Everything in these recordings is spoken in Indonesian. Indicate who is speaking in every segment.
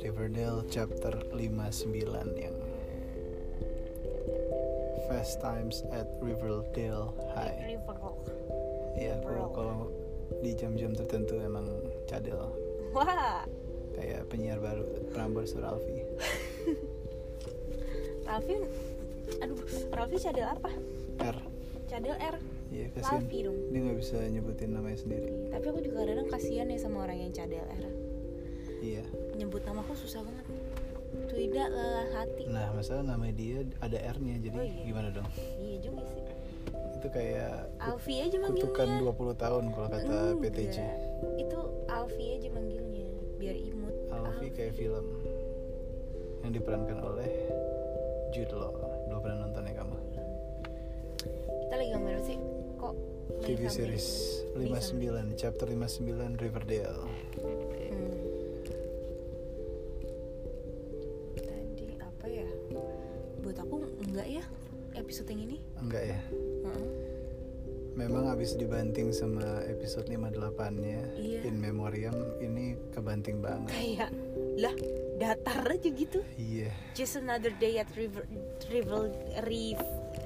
Speaker 1: Bible chapter 59 yang Fast Times at Riverdale High.
Speaker 2: River Rock.
Speaker 1: Ya, kalau kalau di jam-jam tertentu emang cadel
Speaker 2: Wah,
Speaker 1: kayak penyiar baru Prambors Ralfi.
Speaker 2: Ralfi, aduh, Ralfi cadel apa?
Speaker 1: R.
Speaker 2: Cadel R.
Speaker 1: Iya, kasihan.
Speaker 2: Ralfi dong.
Speaker 1: Dia nggak bisa nyebutin namanya sendiri.
Speaker 2: Tapi aku juga kadang kasihan ya sama orang yang cadel R.
Speaker 1: Iya.
Speaker 2: Nyebut nama aku susah banget. Tidak lelah hati.
Speaker 1: Nah, masalah namanya dia ada R-nya, jadi
Speaker 2: Oh, iya.
Speaker 1: gimana dong?
Speaker 2: Iya juga sih.
Speaker 1: Itu kayak
Speaker 2: Alfi aja
Speaker 1: kutukan
Speaker 2: manggilnya.
Speaker 1: 20 tahun kalau kata
Speaker 2: Enggak.
Speaker 1: PTJ.
Speaker 2: Itu Alfi aja manggilnya, biar imut.
Speaker 1: Alfie kayak film yang diperankan oleh Jude Law. Belum pernah nonton ya kamu?
Speaker 2: Kita lagi ngomongin apa sih? Kok lagi
Speaker 1: TV
Speaker 2: sampai-
Speaker 1: series 59, chapter 59 Riverdale.
Speaker 2: Hmm. Tadi apa ya? Buat aku enggak ya episode yang ini.
Speaker 1: Enggak ya?
Speaker 2: Heeh.
Speaker 1: Memang abis dibanting sama episode 58-nya
Speaker 2: Iya.
Speaker 1: In Memoriam ini kebanting banget.
Speaker 2: Kayak lah datar aja gitu.
Speaker 1: Iya,
Speaker 2: Just another day at River River Reef.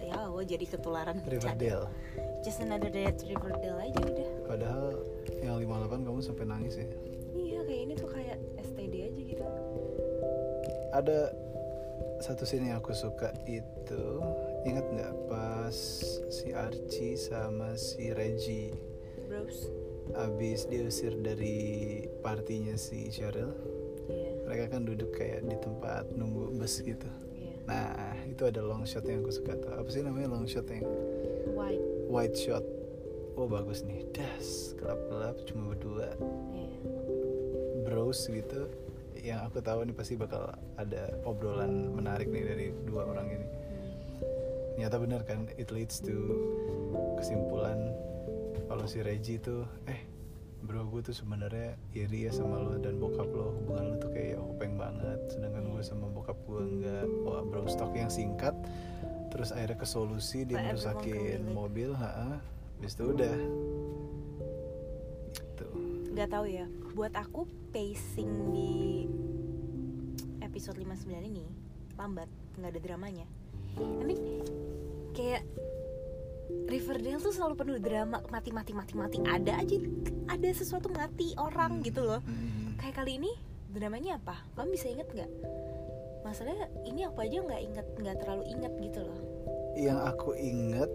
Speaker 2: Ya, gua jadi ketularan.
Speaker 1: Riverdale.
Speaker 2: Just another day at Riverdale aja udah.
Speaker 1: Padahal yang 58 kamu sampai nangis ya.
Speaker 2: Iya, kayak ini tuh kayak STD aja gitu.
Speaker 1: Ada satu scene yang aku suka itu ingat nggak pas si Archie sama si Reggie
Speaker 2: Bros.
Speaker 1: abis diusir dari partinya si Cheryl
Speaker 2: Iya,
Speaker 1: mereka kan duduk kayak di tempat nunggu bus gitu
Speaker 2: iya.
Speaker 1: nah itu ada long shot yang aku suka tuh apa sih namanya long shot yang
Speaker 2: White.
Speaker 1: wide shot oh bagus nih das gelap gelap cuma berdua
Speaker 2: Iya.
Speaker 1: bros gitu yang aku tahu nih pasti bakal ada obrolan menarik nih dari dua orang ini
Speaker 2: Hmm.
Speaker 1: nyata bener kan it leads to kesimpulan kalau si Reggie tuh eh bro gue tuh sebenarnya iri ya sama lo dan bokap lo hubungan lo tuh kayak hopeng banget sedangkan gue sama bokap gue enggak wah bro stok yang singkat terus akhirnya ke solusi dia
Speaker 2: But everyone
Speaker 1: merusakin
Speaker 2: can relate.
Speaker 1: mobil ha habis itu udah gitu
Speaker 2: nggak tahu ya buat aku pacing di episode 59 ini lambat nggak ada dramanya tapi kayak Riverdale tuh selalu penuh drama mati mati mati mati ada aja ada sesuatu mati orang gitu loh
Speaker 1: Mm.
Speaker 2: kayak kali ini dramanya apa kamu bisa inget nggak masalahnya ini aku aja nggak inget nggak terlalu inget gitu loh
Speaker 1: yang aku inget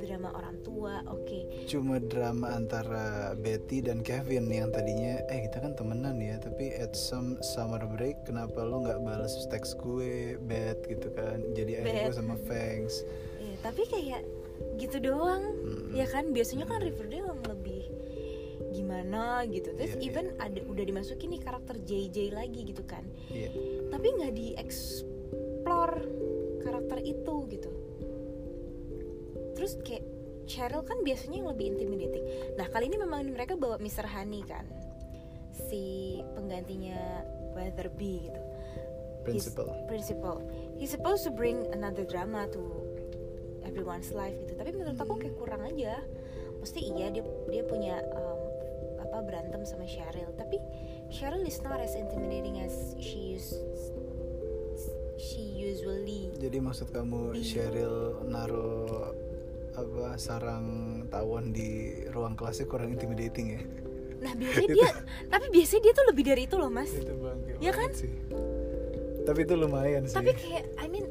Speaker 2: drama orang tua oke
Speaker 1: cuma drama antara Betty dan Kevin yang tadinya eh kita kan temenan ya tapi at some summer break kenapa lu nggak balas teks gue Bet gitu kan jadi akhirnya gue
Speaker 2: Bet.
Speaker 1: sama Fangs
Speaker 2: Iya, tapi kayak gitu doang
Speaker 1: Mm-mm.
Speaker 2: ya kan biasanya kan Riverdale yang lebih gimana gitu
Speaker 1: Iya,
Speaker 2: terus even ada udah dimasukin nih karakter JJ lagi gitu kan
Speaker 1: Iya.
Speaker 2: tapi nggak dieksplor karakter itu gitu terus kayak Cheryl kan biasanya yang lebih intimidating nah kali ini memang mereka bawa Mr. Honey kan si penggantinya Weatherby gitu
Speaker 1: principal
Speaker 2: principal. He's supposed to bring another drama to everyone's life gitu. Tapi menurut aku kayak kurang aja. Mesti iya dia dia punya um, apa berantem sama Cheryl. Tapi Cheryl is not as intimidating as she is she usually.
Speaker 1: jadi maksud kamu
Speaker 2: Iya.
Speaker 1: Cheryl naro apa sarang tawon di ruang kelasnya kurang intimidating ya
Speaker 2: Nah biasanya dia tapi biasanya dia tuh lebih dari itu loh mas.
Speaker 1: itu bangke
Speaker 2: Iya
Speaker 1: banget
Speaker 2: kan?
Speaker 1: sih. tapi itu lumayan sih
Speaker 2: Tapi kayak I mean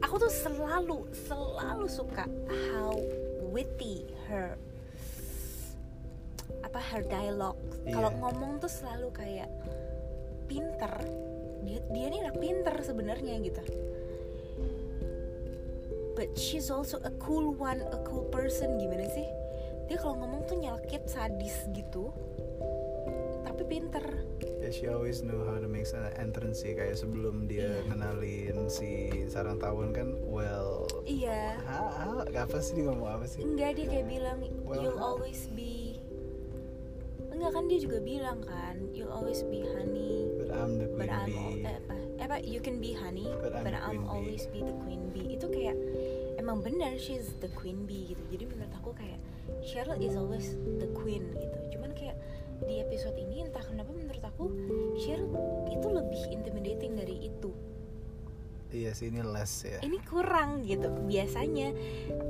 Speaker 2: aku tuh selalu selalu suka how witty her apa her dialogue.
Speaker 1: Iya.
Speaker 2: Kalau ngomong tuh selalu kayak pinter. Dia dia nih anak pinter sebenarnya gitu. But she's also a cool one, a cool person gimana sih? Dia kalau ngomong tuh nyelkit sadis gitu. Tapi pinter.
Speaker 1: Ya, she always knew how to make an entrance sih kayak sebelum dia
Speaker 2: Iya.
Speaker 1: kenalin si sarang tawon kan well
Speaker 2: Iya.
Speaker 1: ha, ha, apa sih dia ngomong apa sih
Speaker 2: Enggak dia kayak bilang
Speaker 1: Well,
Speaker 2: you'll
Speaker 1: how?
Speaker 2: always be Enggak kan dia juga bilang kan you'll always be honey
Speaker 1: but I'm the
Speaker 2: but
Speaker 1: queen
Speaker 2: I'm al-
Speaker 1: bee
Speaker 2: eh, apa eh, apa you can be honey
Speaker 1: But I'm the
Speaker 2: but,
Speaker 1: queen
Speaker 2: I'm
Speaker 1: bee.
Speaker 2: always be the queen bee itu kayak emang benar she's the queen bee gitu jadi menurut aku kayak Cheryl is always the queen gitu cuman kayak di episode ini entah kenapa menurut aku Cheryl itu lebih intimidating dari itu
Speaker 1: iya sih ini less ya
Speaker 2: ini kurang gitu biasanya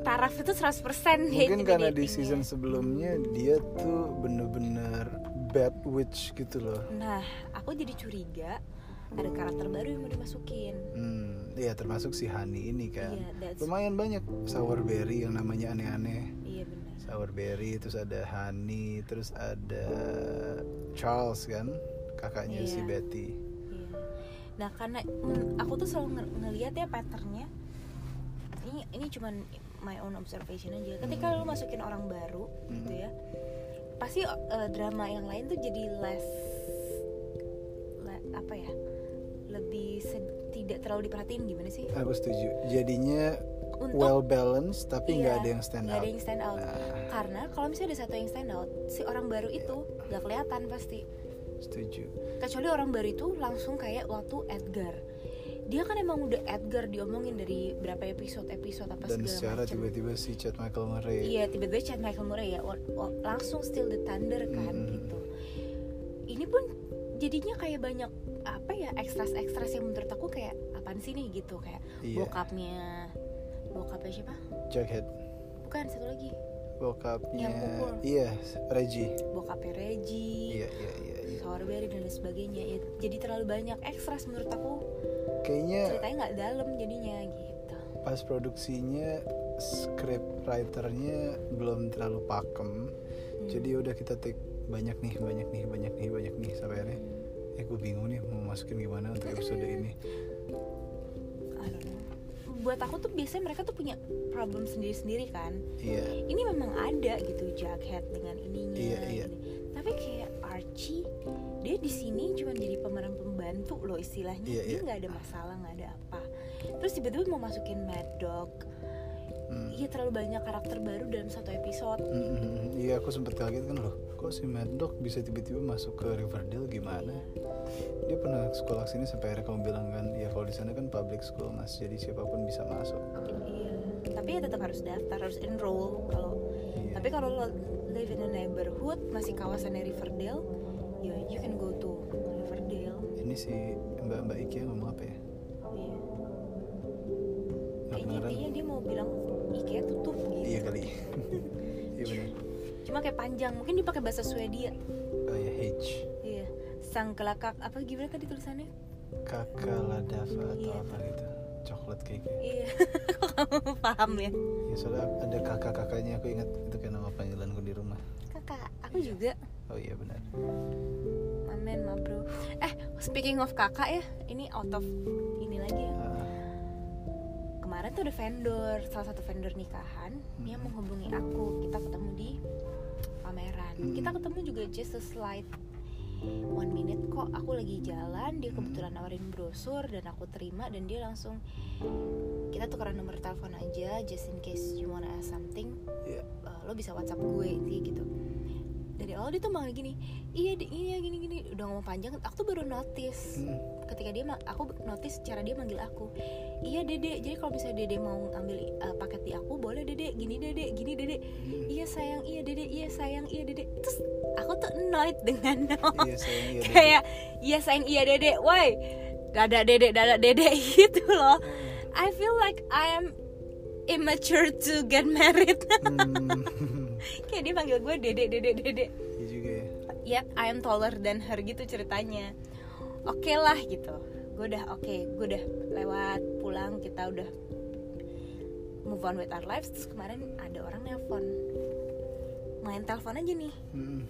Speaker 2: taraf itu 100% ya
Speaker 1: mungkin karena di
Speaker 2: intimidatingnya.
Speaker 1: season sebelumnya dia tuh bener-bener bad witch gitu loh
Speaker 2: nah aku jadi curiga ada karakter baru yang mau dimasukin
Speaker 1: hmm iya termasuk si Hani ini kan
Speaker 2: iya that's
Speaker 1: lumayan banyak sour berry yang namanya aneh-aneh
Speaker 2: iya benar
Speaker 1: sour berry terus ada Hani terus ada Charles kan kakaknya si
Speaker 2: Iya.
Speaker 1: Betty
Speaker 2: Iya. Nah karena men- aku tuh selalu nge- ngeliat ya patternnya ini ini cuman my own observation aja. Ketika lu masukin orang baru
Speaker 1: Hmm.
Speaker 2: gitu ya, pasti eh, drama yang lain tuh jadi less le- apa ya lebih sed- tidak terlalu diperhatiin gimana sih?
Speaker 1: aku setuju jadinya
Speaker 2: Untuk
Speaker 1: well balanced tapi nggak
Speaker 2: Iya,
Speaker 1: ada yang stand
Speaker 2: nggak
Speaker 1: out
Speaker 2: ada yang stand out.
Speaker 1: Nah,
Speaker 2: Karena kalau misalnya ada satu yang stand out, si orang baru itu nggak kelihatan pasti.
Speaker 1: setuju
Speaker 2: kecuali orang baru itu langsung kayak waktu Edgar dia kan emang udah Edgar diomongin dari berapa episode episode apa
Speaker 1: dan
Speaker 2: segala
Speaker 1: secara
Speaker 2: macam
Speaker 1: tiba-tiba si Chad Michael Murray
Speaker 2: iya tiba-tiba chat Michael Murray ya wa- wa- langsung still the thunder kan
Speaker 1: Mm.
Speaker 2: gitu ini pun jadinya kayak banyak apa ya ekstras ekstras yang menurut aku kayak apaan sih nih gitu kayak
Speaker 1: iya
Speaker 2: bokapnya bokapnya siapa
Speaker 1: Jughead
Speaker 2: bukan satu lagi
Speaker 1: bokapnya
Speaker 2: Yang pukul.
Speaker 1: iya Reggie
Speaker 2: bokapnya Reggie
Speaker 1: iya iya iya iya.
Speaker 2: Sowerberry dan lain sebagainya ya, jadi terlalu banyak ekstras menurut aku
Speaker 1: kayaknya
Speaker 2: ceritanya nggak dalam jadinya gitu
Speaker 1: pas produksinya script writernya belum terlalu pakem
Speaker 2: Hmm.
Speaker 1: jadi udah kita take banyak nih banyak nih banyak nih banyak nih sampai akhirnya eh gue bingung nih mau masukin gimana untuk episode ini
Speaker 2: I don't know. buat aku tuh biasanya mereka tuh punya problem sendiri-sendiri kan
Speaker 1: iya
Speaker 2: ini memang ada gitu Jughead dengan ininya
Speaker 1: Iya, iya.
Speaker 2: ini. tapi kayak Archie dia di sini cuma jadi pemeran pembantu loh istilahnya
Speaker 1: Iya,
Speaker 2: dia
Speaker 1: iya.
Speaker 2: nggak ada masalah nggak ada apa terus tiba-tiba mau masukin Mad Dog
Speaker 1: Hmm.
Speaker 2: iya terlalu banyak karakter baru dalam satu episode
Speaker 1: Mm-mm. Iya aku sempet kaget kan loh Kok si Mad Dog bisa tiba-tiba masuk ke Riverdale gimana Dia pernah sekolah sini sampai akhirnya kamu bilang kan Ya kalau di sana kan public school mas Jadi siapapun bisa masuk
Speaker 2: iya tapi ya tetap harus daftar harus enroll kalau
Speaker 1: Iya.
Speaker 2: Tapi kalau lo live in a neighborhood masih kawasannya Riverdale, ya you can go to Riverdale.
Speaker 1: Ini si mbak-mbak Iki yang ngomong apa ya
Speaker 2: Iya.
Speaker 1: Gak
Speaker 2: Kayaknya
Speaker 1: beneran
Speaker 2: intinya dia mau bilang IKEA tutup gitu.
Speaker 1: Iya kali Iya bener
Speaker 2: Cuma kayak panjang, mungkin dia pakai bahasa Swedia.
Speaker 1: Oh ya H
Speaker 2: Iya. Sang kelakak apa gimana tadi tulisannya?
Speaker 1: Kakak Ladava atau
Speaker 2: Iya.
Speaker 1: apa gitu Coklat cake
Speaker 2: Iya. Kok kamu paham ya?
Speaker 1: Ya soalnya ada kakak-kakaknya aku ingat Itu kayak nama panggilanku di rumah
Speaker 2: Kakak, aku juga.
Speaker 1: Oh iya benar
Speaker 2: Amin, ma bro. Eh, speaking of kakak ya, ini out of ini lagi ya.
Speaker 1: Ah,
Speaker 2: kemarin tuh ada vendor salah satu vendor nikahan
Speaker 1: Hmm.
Speaker 2: dia menghubungi aku kita ketemu di pameran
Speaker 1: Hmm.
Speaker 2: kita ketemu juga just a slight one minute kok aku lagi
Speaker 1: Hmm.
Speaker 2: jalan dia kebetulan nawarin brosur dan aku terima dan dia langsung kita tukeran nomor telepon aja just in case you wanna ask something
Speaker 1: Iya.
Speaker 2: uh, lo bisa whatsapp gue sih gitu dari awal dia tuh malah gini iya di- iya gini gini udah ngomong panjang aku tuh baru notice
Speaker 1: mm,
Speaker 2: ketika dia ma- aku notice cara dia manggil aku iya dede jadi kalau misalnya dede mau ngambil uh, paket di aku boleh dede gini dede gini dede
Speaker 1: mm.
Speaker 2: iya sayang iya dede iya sayang iya dede terus aku tuh annoyed dengan
Speaker 1: Iya sayang iya Dede.
Speaker 2: kayak iya sayang iya dede woi dada dede dada dede gitu loh I feel like I am immature to get married
Speaker 1: Hmm.
Speaker 2: kayak dia manggil gue dede dede dede
Speaker 1: Iya juga ya.
Speaker 2: yet I am taller than her gitu ceritanya oke lah gitu gue udah oke gue udah lewat pulang kita udah move on with our lives terus kemarin ada orang nelpon main telepon aja nih
Speaker 1: Hmm,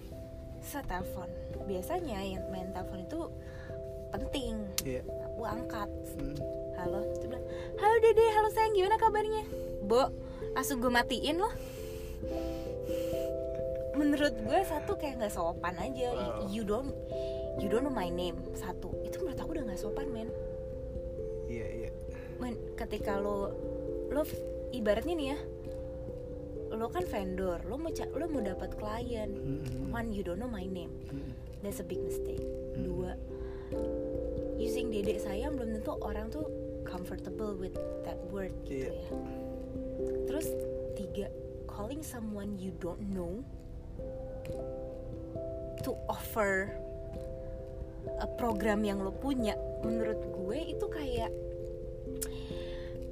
Speaker 2: saya telepon biasanya yang main telepon itu penting
Speaker 1: Iya.
Speaker 2: gue angkat
Speaker 1: Hmm.
Speaker 2: halo Terus dia bilang halo dede halo sayang gimana kabarnya bo langsung gue matiin loh menurut gue satu kayak nggak sopan aja Y-
Speaker 1: Wow.
Speaker 2: you don't you don't know my name satu itu menurut aku udah nggak sopan men
Speaker 1: Iya iya.
Speaker 2: Men, ketika lo lo f- ibaratnya nih ya lo kan vendor lo mau ca- lo mau dapat klien
Speaker 1: Hmm,
Speaker 2: one you don't know my name
Speaker 1: hmm,
Speaker 2: that's a big mistake
Speaker 1: hmm.
Speaker 2: dua using dedek saya belum tentu orang tuh comfortable with that word
Speaker 1: Iya.
Speaker 2: gitu ya terus tiga calling someone you don't know to offer a program yang lo punya menurut gue itu kayak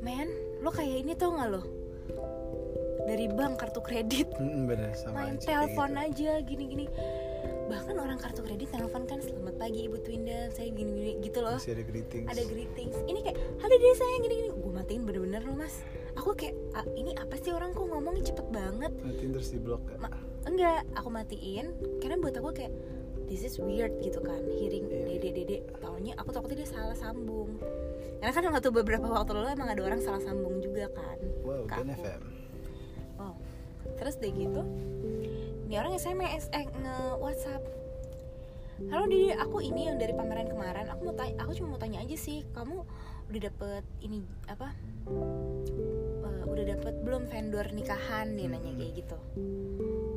Speaker 2: man lo kayak ini tau nggak lo dari bank kartu kredit
Speaker 1: Mm, bener sama
Speaker 2: main
Speaker 1: Anci kayak
Speaker 2: telepon
Speaker 1: gitu.
Speaker 2: aja gini-gini bahkan orang kartu kredit telepon kan selamat pagi ibu Twinda saya gini-gini gitu loh
Speaker 1: masih ada greetings
Speaker 2: ada greetings ini kayak halo deh saya gini-gini gue matiin bener-bener loh mas aku kayak "Ah, ini apa sih orang kok ngomongnya cepet banget
Speaker 1: nanti terus di blok kan
Speaker 2: Ma- enggak aku matiin karena buat aku kayak this is weird gitu kan hearing
Speaker 1: Iya.
Speaker 2: dede dede taunya aku takutnya dia salah sambung karena kan waktu beberapa waktu lalu emang ada orang salah sambung juga kan
Speaker 1: wow
Speaker 2: ke
Speaker 1: Gen
Speaker 2: aku.
Speaker 1: FM
Speaker 2: Wow. Oh, Terus deh gitu Ini orang SMS eh, nge WhatsApp Halo Didi, aku ini yang dari pameran kemarin. Aku mau tanya, aku cuma mau tanya aja sih, kamu udah dapet ini apa? Eh, udah dapet belum vendor nikahan dia nanya kayak gitu.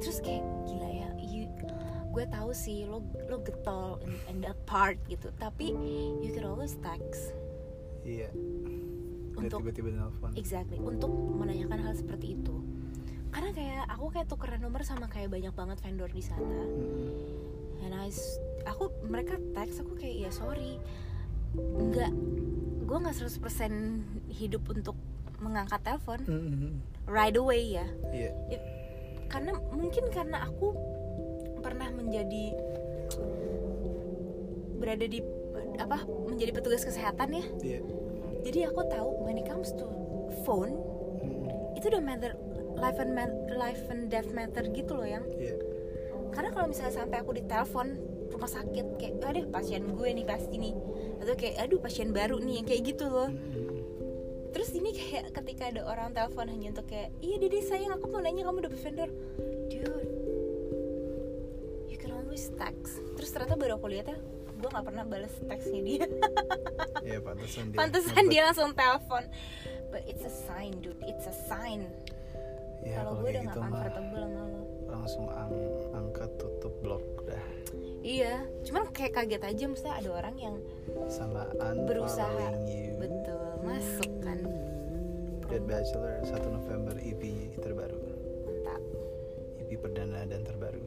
Speaker 2: Terus kayak gila ya, you- gue tahu sih lo lo getol in, in that part gitu, tapi you can always text
Speaker 1: iya Udah
Speaker 2: untuk
Speaker 1: tiba-tiba nelfon
Speaker 2: exactly untuk menanyakan hal seperti itu karena kayak aku kayak tukeran nomor sama kayak banyak banget vendor di sana
Speaker 1: Mm,
Speaker 2: and I s- aku mereka teks aku kayak ya sorry nggak gue nggak 100% hidup untuk mengangkat telepon
Speaker 1: mm, mm, mm.
Speaker 2: right away ya
Speaker 1: iya
Speaker 2: karena mungkin karena aku pernah menjadi berada di apa menjadi petugas kesehatan ya
Speaker 1: iya
Speaker 2: jadi aku tahu when it comes to phone
Speaker 1: Mm,
Speaker 2: itu udah matter life and ma- life and death matter gitu loh yang
Speaker 1: iya
Speaker 2: karena kalau misalnya sampai aku ditelepon rumah sakit kayak aduh pasien gue nih pasti nih atau kayak aduh pasien baru nih yang kayak gitu loh
Speaker 1: Mm, mm, mm.
Speaker 2: terus ini kayak ketika ada orang telepon hanya untuk kayak iya dede sayang aku mau nanya kamu dapet vendor dude you can always text terus ternyata baru aku lihat ya gue nggak pernah balas teksnya dia
Speaker 1: iya pantesan dia
Speaker 2: pantesan
Speaker 1: ngumpet.
Speaker 2: dia langsung telepon but it's a sign dude it's a sign
Speaker 1: Iya,
Speaker 2: kalau
Speaker 1: kalau
Speaker 2: gue
Speaker 1: kayak
Speaker 2: udah nggak
Speaker 1: gitu mah
Speaker 2: comfortable sama lo
Speaker 1: langsung ang- angkat tutup blok dah
Speaker 2: Iya, cuman kayak kaget aja maksudnya ada orang yang
Speaker 1: sama
Speaker 2: Berusaha.
Speaker 1: unfollowing you
Speaker 2: betul masuk kan
Speaker 1: Dead Bachelor 1 November EP terbaru
Speaker 2: mantap.
Speaker 1: EP perdana dan terbaru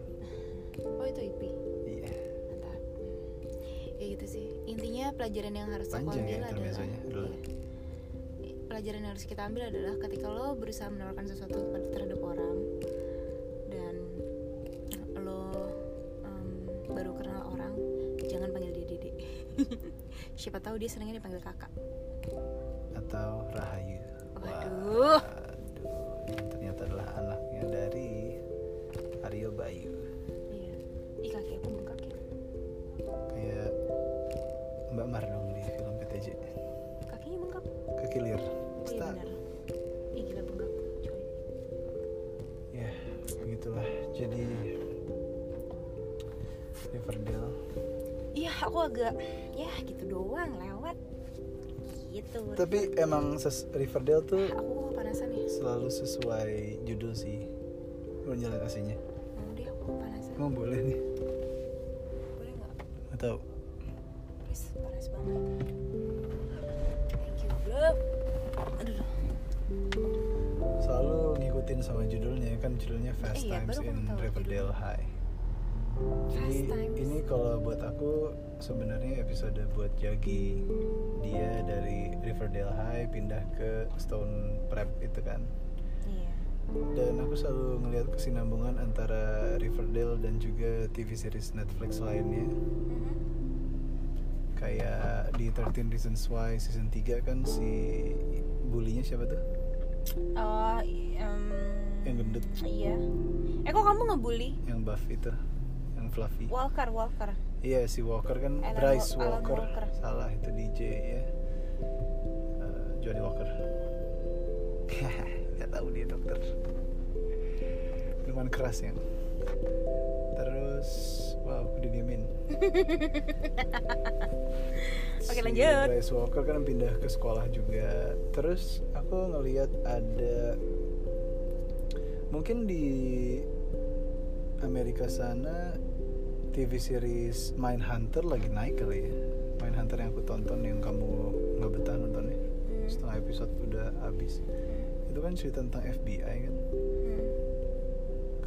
Speaker 2: Oh itu IP,
Speaker 1: iya
Speaker 2: mantap. Ya gitu sih. Intinya pelajaran yang harus aku
Speaker 1: Panjang ya
Speaker 2: ambil adalah
Speaker 1: intermezzonya, dulu.
Speaker 2: Iya. pelajaran yang harus kita ambil adalah ketika lo berusaha menawarkan sesuatu kepada- terhadap orang dan lo em, baru kenal orang, jangan panggil dia dede. Siapa tahu dia senangnya dipanggil kakak.
Speaker 1: atau Rahayu
Speaker 2: Waduh.
Speaker 1: Waduh, yang ternyata adalah anaknya dari Aryo Bayu
Speaker 2: Iya. Ih kaki aku bengkak ya.
Speaker 1: kayak Mbak Mardung di film PTJ
Speaker 2: Kakinya bengkak.
Speaker 1: kekilir
Speaker 2: Oh iya
Speaker 1: Start.
Speaker 2: benar. Ih gila bengkak coy.
Speaker 1: ya begitulah jadi Riverdale
Speaker 2: Iya aku agak ya gitu doang lewat gitu.
Speaker 1: tapi emang ses- Riverdale tuh
Speaker 2: aku panasan ya.
Speaker 1: selalu sesuai judul sih aslinya
Speaker 2: Mau deh aku panasan.
Speaker 1: emang boleh nih
Speaker 2: Boleh nggak?
Speaker 1: nggak tahu
Speaker 2: Please panas banget. Thank you bro. Aduh. duh.
Speaker 1: selalu ngikutin sama judulnya kan judulnya Fast
Speaker 2: Iya,
Speaker 1: Times
Speaker 2: baru aku
Speaker 1: in
Speaker 2: tahu
Speaker 1: Riverdale
Speaker 2: judulnya.
Speaker 1: High
Speaker 2: Fast
Speaker 1: jadi
Speaker 2: times.
Speaker 1: ini kalau buat aku sebenarnya episode buat Jagi dia dari Riverdale High pindah ke Stone Prep itu kan
Speaker 2: Iya.
Speaker 1: dan aku selalu ngelihat kesinambungan antara Riverdale dan juga TV series Netflix lainnya
Speaker 2: Mhm.
Speaker 1: kayak di 13 Reasons Why season 3 kan si bulinya siapa tuh
Speaker 2: Oh, i- em,
Speaker 1: Yang gendut.
Speaker 2: Iya. Eh kok kamu ngebully?
Speaker 1: yang buff itu yang fluffy
Speaker 2: Walker, Walker.
Speaker 1: iya si Walker kan
Speaker 2: Alan
Speaker 1: Bryce
Speaker 2: Wa- Alan
Speaker 1: Walker.
Speaker 2: Walker.
Speaker 1: salah itu DJ ya Eh, Johnny Walker nggak tahu dia dokter minuman keras ya terus wow aku didiemin Si
Speaker 2: Oke, lanjut.
Speaker 1: Bryce Walker kan pindah ke sekolah juga terus aku ngelihat ada mungkin di Amerika sana TV series Mindhunter lagi naik kali ya Mindhunter yang aku tonton yang kamu nggak betah nontonnya
Speaker 2: Hmm.
Speaker 1: setengah episode udah habis itu kan cerita tentang FBI kan
Speaker 2: Hmm.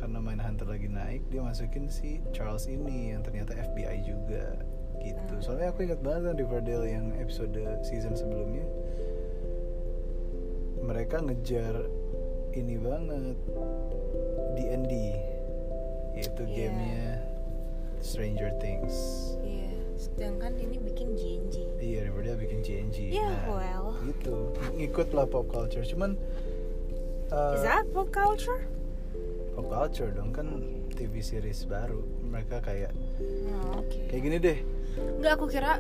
Speaker 1: karena Mindhunter lagi naik dia masukin si Charles ini yang ternyata FBI juga gitu
Speaker 2: Ah.
Speaker 1: soalnya aku ingat banget kan Riverdale yang episode season sebelumnya mereka ngejar ini banget D&D yaitu
Speaker 2: Iya.
Speaker 1: gamenya Stranger Things
Speaker 2: Iya. Sedangkan ini bikin JNJ.
Speaker 1: iya Riverdale bikin JNJ
Speaker 2: Ya, well.
Speaker 1: Nah, gitu ngikut lah pop culture cuman uh,
Speaker 2: Is that pop culture?
Speaker 1: pop culture dong kan TV series baru mereka kayak
Speaker 2: Oh, oke.
Speaker 1: kayak gitu. gini deh
Speaker 2: Enggak aku kira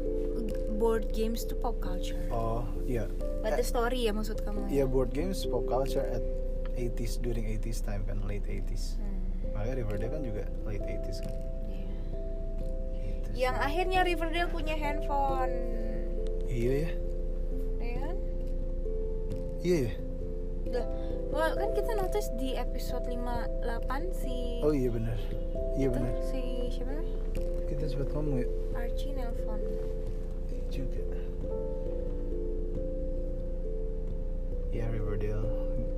Speaker 2: board games tuh pop culture.
Speaker 1: oh iya
Speaker 2: But the story ya maksud kamu.
Speaker 1: iya board games pop culture at 80s during 80s time kan late 80s
Speaker 2: Hmm,
Speaker 1: makanya Riverdale kan juga late 80s kan
Speaker 2: iya.
Speaker 1: gitu sih.
Speaker 2: Yang ah- akhirnya Riverdale punya handphone.
Speaker 1: iya ya
Speaker 2: Ya kan?
Speaker 1: iya ya
Speaker 2: Udah. Wah, kan kita notice di episode 58 si
Speaker 1: oh iya benar iya
Speaker 2: itu,
Speaker 1: benar
Speaker 2: si siapa namanya?
Speaker 1: kita sempat ngomong ya
Speaker 2: Archie nelpon.
Speaker 1: Iya juga ya Riverdale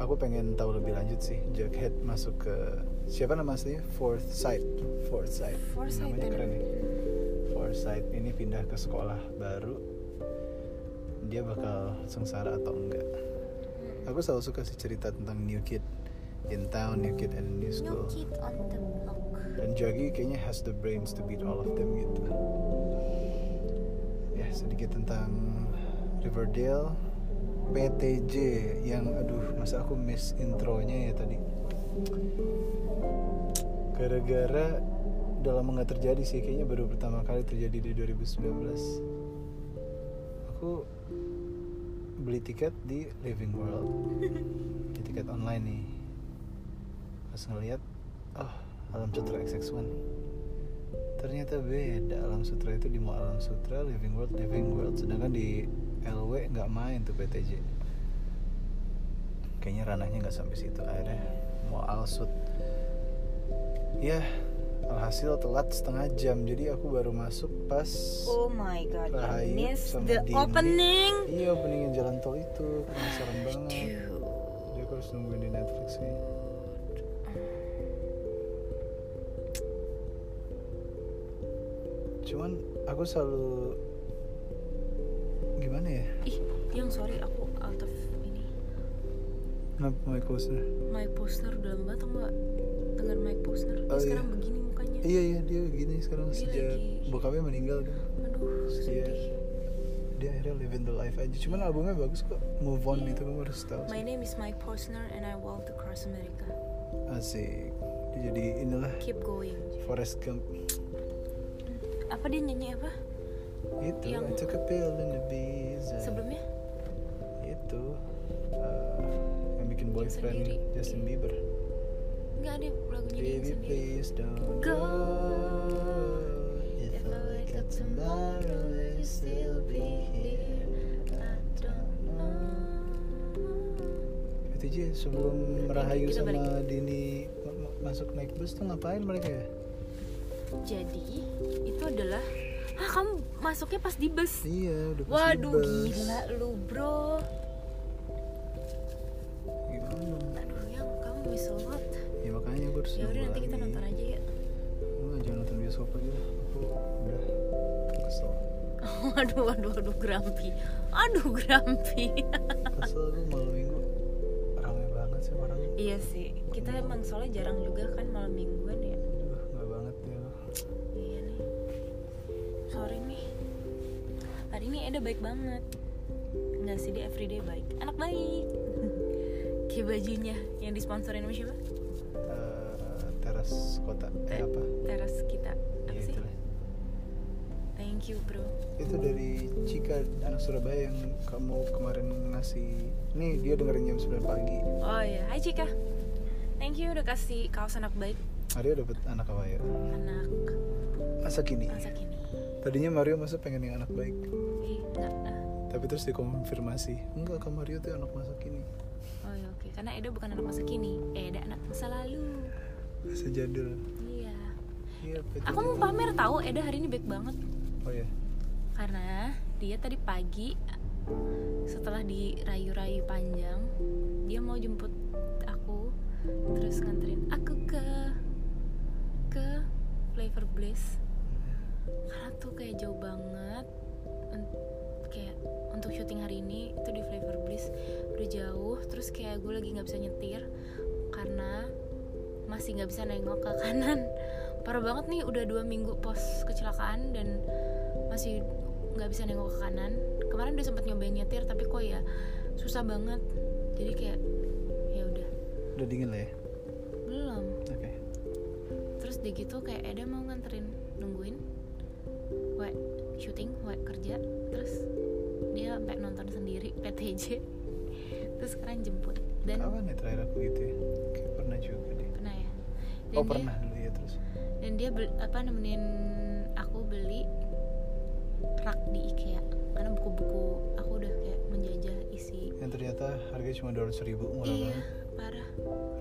Speaker 1: aku pengen tahu lebih lanjut sih Jughead masuk ke siapa nama aslinya Fourth Sight Fourth Sight
Speaker 2: Forsyth
Speaker 1: namanya
Speaker 2: tadi.
Speaker 1: keren ya. nih Forsyth ini pindah ke sekolah baru dia bakal sengsara atau enggak
Speaker 2: Hmm.
Speaker 1: aku selalu suka sih cerita tentang new kid in town new kid and new
Speaker 2: New
Speaker 1: school
Speaker 2: Kid on the Block.
Speaker 1: dan Jagi kayaknya has the brains to beat all of them gitu ya sedikit tentang Riverdale PTJ yang aduh masa aku miss intronya ya tadi gara-gara udah lama nggak terjadi sih kayaknya baru pertama kali terjadi di 2019 aku beli tiket di Living World di tiket online nih pas ngeliat oh Alam Sutra XX1 ternyata beda Alam Sutra itu di Mall Alam Sutra Living World Living World sedangkan di LW nggak main tuh PTJ kayaknya ranahnya nggak sampai situ akhirnya mau alsut ya alhasil telat setengah jam jadi aku baru masuk pas
Speaker 2: Oh my god, I
Speaker 1: Rahayu
Speaker 2: miss
Speaker 1: sama
Speaker 2: the
Speaker 1: Dini.
Speaker 2: opening.
Speaker 1: iya openingin jalan tol itu penasaran banget
Speaker 2: Aduh.
Speaker 1: dia harus nungguin di Netflix nih cuman aku selalu gimana ya
Speaker 2: Ih, yang sorry aku out of ini.
Speaker 1: kenapa Mike Posner
Speaker 2: Mike Posner udah lama banget nggak dengar Mike Posner. Dia
Speaker 1: Oh, iya.
Speaker 2: sekarang begini mukanya.
Speaker 1: iya iya dia begini sekarang
Speaker 2: Dia
Speaker 1: sejak
Speaker 2: lagi-
Speaker 1: bokapnya meninggal dia,
Speaker 2: Aduh,
Speaker 1: Iya.
Speaker 2: sedih.
Speaker 1: dia akhirnya living the life aja cuman albumnya bagus kok move on
Speaker 2: Iya.
Speaker 1: itu kamu harus tahu
Speaker 2: My name is Mike Posner and I walk across America.
Speaker 1: asik dia jadi inilah
Speaker 2: Keep going.
Speaker 1: Forrest Gump
Speaker 2: Apa dia nyanyi apa
Speaker 1: itu I
Speaker 2: Yang-
Speaker 1: took Gitu. a pill in the bees and-
Speaker 2: sebelumnya?
Speaker 1: itu uh, yang bikin boyfriend
Speaker 2: sendiri.
Speaker 1: Justin Bieber
Speaker 2: Enggak ada lagunya dia yang
Speaker 1: Baby
Speaker 2: sendiri.
Speaker 1: please don't go
Speaker 2: Go.
Speaker 1: If I wake up tomorrow will you still be here
Speaker 2: I don't know.
Speaker 1: Itu aja sebelum
Speaker 2: Kita
Speaker 1: Rahayu
Speaker 2: balik.
Speaker 1: sama Dini ma- ma- masuk naik bus tuh ngapain mereka ya?
Speaker 2: Jadi itu adalah Ah kamu masuknya pas di bus.
Speaker 1: Iya udah pas di
Speaker 2: Waduh
Speaker 1: bus.
Speaker 2: gila lu bro.
Speaker 1: Gimana?
Speaker 2: Aduh yang kamu miss a lot.
Speaker 1: Ya makanya gue harus
Speaker 2: Ya udah nanti kita nonton aja ya.
Speaker 1: Gue jangan nonton bioskop lagi lah Aku udah kesel
Speaker 2: Aduh aduh aduh Grumpy. Aduh Grumpy.
Speaker 1: Kesel gue malam minggu Rame banget sih orang
Speaker 2: iya sih. Kita emang soalnya jarang juga kan malam mingguan ya.
Speaker 1: Aduh gak banget ya
Speaker 2: Iya nih. Sorry nih. Hari ini Eda baik banget. Enggak sih dia everyday baik. Anak baik. Kayak bajunya yang disponsorin sama siapa?
Speaker 1: Eh, Teras kota Eh
Speaker 2: Te-
Speaker 1: apa?
Speaker 2: Teras kita. Apa
Speaker 1: Iya
Speaker 2: sih?
Speaker 1: itulah
Speaker 2: Thank you, Bro.
Speaker 1: itu dari Cika anak Surabaya yang kamu kemarin ngasih nih dia dengerin jam 9 pagi
Speaker 2: Oh ya, hai Cika. Thank you udah kasih kaos anak baik
Speaker 1: Mario dapat anak apa ya
Speaker 2: anak
Speaker 1: masa kini
Speaker 2: masa kini.
Speaker 1: tadinya Mario masa pengen yang anak baik
Speaker 2: Eh, enggak. ah.
Speaker 1: tapi terus dikonfirmasi enggak kak Mario tuh anak masa kini
Speaker 2: Oh ya, oke. Karena Eda bukan anak masa kini. Eda anak masa lalu.
Speaker 1: masa jadul
Speaker 2: Iya.
Speaker 1: iya betul
Speaker 2: Aku mau pamer tahu Eda hari ini baik banget.
Speaker 1: oh ya
Speaker 2: karena dia tadi pagi setelah dirayu-rayu panjang dia mau jemput aku terus nganterin aku ke guys karena tuh kayak jauh banget Un- kayak untuk syuting hari ini itu di Flavor Bliss udah jauh terus kayak gue lagi nggak bisa nyetir karena masih nggak bisa nengok ke kanan parah banget nih udah dua minggu pos kecelakaan dan masih nggak bisa nengok ke kanan kemarin udah sempet nyobain nyetir tapi kok ya susah banget jadi kayak ya udah
Speaker 1: udah dingin lah ya
Speaker 2: belum
Speaker 1: oke
Speaker 2: terus dia gitu kayak Eda mau nganterin nungguin we syuting we kerja terus dia sampai nonton sendiri PTJ terus sekarang jemput dan
Speaker 1: kapan ya terakhir aku gitu ya kayak pernah juga deh
Speaker 2: pernah ya dan
Speaker 1: oh
Speaker 2: dia-
Speaker 1: pernah dulu ya terus
Speaker 2: dan dia bel- apa nemenin aku beli rak di IKEA karena buku-buku aku udah kayak menjajah isi
Speaker 1: yang ternyata harganya cuma dua ribu murah
Speaker 2: iya
Speaker 1: banget
Speaker 2: parah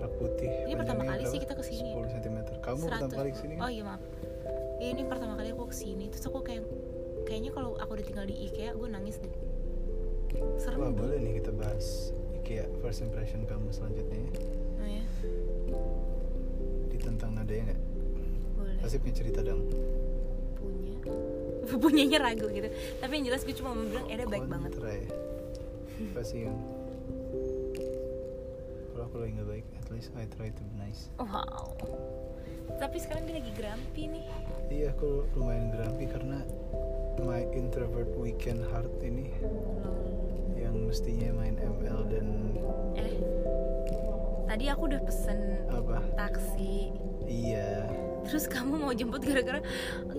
Speaker 1: rak putih
Speaker 2: Ini pertama kali sih kita kesini ya?
Speaker 1: 10 cm kamu pertama
Speaker 2: 100.
Speaker 1: kali kesini kan
Speaker 2: oh iya maaf Iya, ini pertama kali aku kesini terus aku kayak kayaknya kalau aku udah tinggal di IKEA gue nangis deh serem
Speaker 1: wah
Speaker 2: dong.
Speaker 1: boleh nih kita bahas IKEA first impression kamu selanjutnya ya.
Speaker 2: Oh ya,
Speaker 1: di tentang nada ya nggak
Speaker 2: boleh
Speaker 1: pasti punya cerita dong
Speaker 2: punya punyanya ragu gitu tapi yang jelas gue cuma mau bilang Eda baik banget
Speaker 1: Kontra ya. pasti yang kalau aku lagi nggak baik at least I try to be nice
Speaker 2: wow tapi sekarang dia lagi grumpy nih
Speaker 1: Iya, aku lumayan grumpy karena my introvert weekend heart ini
Speaker 2: Lol.
Speaker 1: yang mestinya main ML dan
Speaker 2: eh tadi aku udah pesen
Speaker 1: apa?
Speaker 2: taksi
Speaker 1: Iya,
Speaker 2: terus kamu mau jemput gara-gara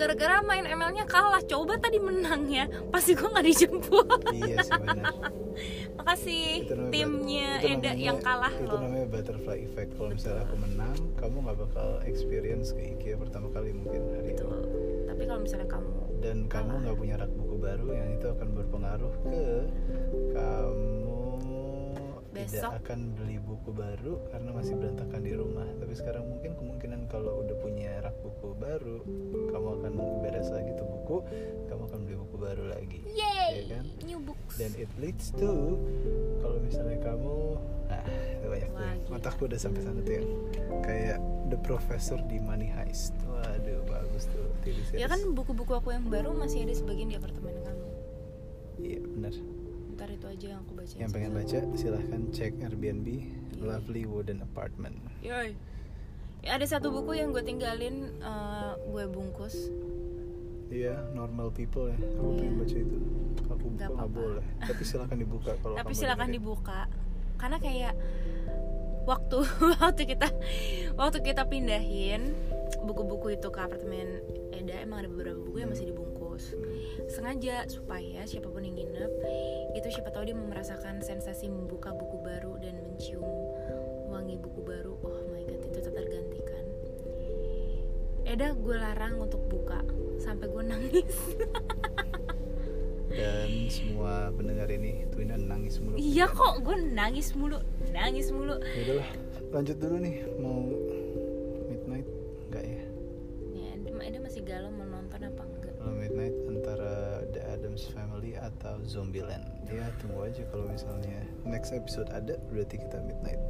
Speaker 2: gara-gara main ML-nya kalah coba tadi menang ya pasti gue nggak dijemput
Speaker 1: iya sih benar.
Speaker 2: makasih
Speaker 1: Itu namanya but-
Speaker 2: timnya
Speaker 1: itu
Speaker 2: Eda
Speaker 1: namanya-
Speaker 2: yang kalah
Speaker 1: Itu
Speaker 2: loh
Speaker 1: namanya butterfly effect. Kalau misalnya aku menang, kamu nggak bakal experience ke IKEA pertama kali mungkin hari
Speaker 2: gitu
Speaker 1: ini.
Speaker 2: tapi kalau misalnya kamu
Speaker 1: Dan kamu nggak punya rak buku baru, yang itu akan berpengaruh ke kamu tidak
Speaker 2: Besok.
Speaker 1: akan beli buku baru karena masih berantakan di rumah. Tapi sekarang mungkin kemungkinan kalau udah punya rak buku baru, kamu akan beres lagi tuh buku, kamu akan beli buku baru lagi.
Speaker 2: yay
Speaker 1: Iya kan?
Speaker 2: new books
Speaker 1: Dan it leads to kalau misalnya kamu ah itu banyak tuh.
Speaker 2: Wah, gila.
Speaker 1: Otakku udah sampai sana tuh yang kayak The Professor di Money Heist. Waduh, bagus tuh. TV series.
Speaker 2: ya kan buku-buku aku yang baru masih ada sebagian di apartemen kamu
Speaker 1: Iya, benar.
Speaker 2: ntar itu aja yang aku baca
Speaker 1: Yang pengen baca silahkan cek Airbnb Lovely Wooden Apartment.
Speaker 2: Yoi. Ya, ada satu buku yang gue tinggalin eh, gue bungkus
Speaker 1: Iya, normal people ya. Aku
Speaker 2: Iya.
Speaker 1: pengen baca itu. Aku buka
Speaker 2: Nggak
Speaker 1: nggak
Speaker 2: apa-apa.
Speaker 1: boleh. Tapi silahkan dibuka kalau
Speaker 2: tapi
Speaker 1: kamu
Speaker 2: silakan
Speaker 1: dengerin.
Speaker 2: dibuka karena kayak waktu waktu kita waktu kita pindahin buku-buku itu ke apartemen Eda emang ada beberapa buku yang
Speaker 1: Hmm.
Speaker 2: masih dibungkus sengaja supaya siapapun yang nginep itu siapa tahu dia mau merasakan sensasi membuka buku baru dan mencium wangi buku baru oh my god itu tak tergantikan Eda gue larang untuk buka sampai gue nangis
Speaker 1: Dan semua pendengar ini Twina nangis mulu.
Speaker 2: iya kok gue nangis mulu nangis mulu
Speaker 1: Ya udahlah, lanjut dulu nih mau midnight enggak ya?
Speaker 2: ya Eda- Eda masih galau mau nonton apa enggak
Speaker 1: Kalau midnight antara The Adams Family atau Zombieland. Ya tunggu aja kalau misalnya next episode ada berarti kita midnight.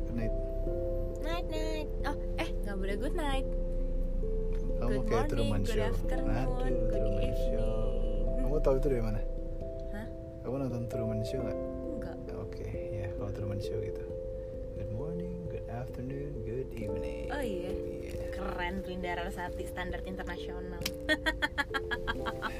Speaker 1: Good night.
Speaker 2: night night oh eh nggak boleh good night
Speaker 1: Kamu
Speaker 2: good
Speaker 1: kayak Truman
Speaker 2: morning good
Speaker 1: Show.
Speaker 2: afternoon
Speaker 1: Aduh,
Speaker 2: good
Speaker 1: Truman Show. Kamu
Speaker 2: evening
Speaker 1: tahu itu dari mana?
Speaker 2: Hah?
Speaker 1: Kamu nonton Truman Show nggak?
Speaker 2: enggak
Speaker 1: Oke, ya kalau Truman Show gitu. Good morning, good afternoon, good evening.
Speaker 2: oh iya
Speaker 1: Iya.
Speaker 2: keren tuh Indra Sati standar internasional
Speaker 1: Nah,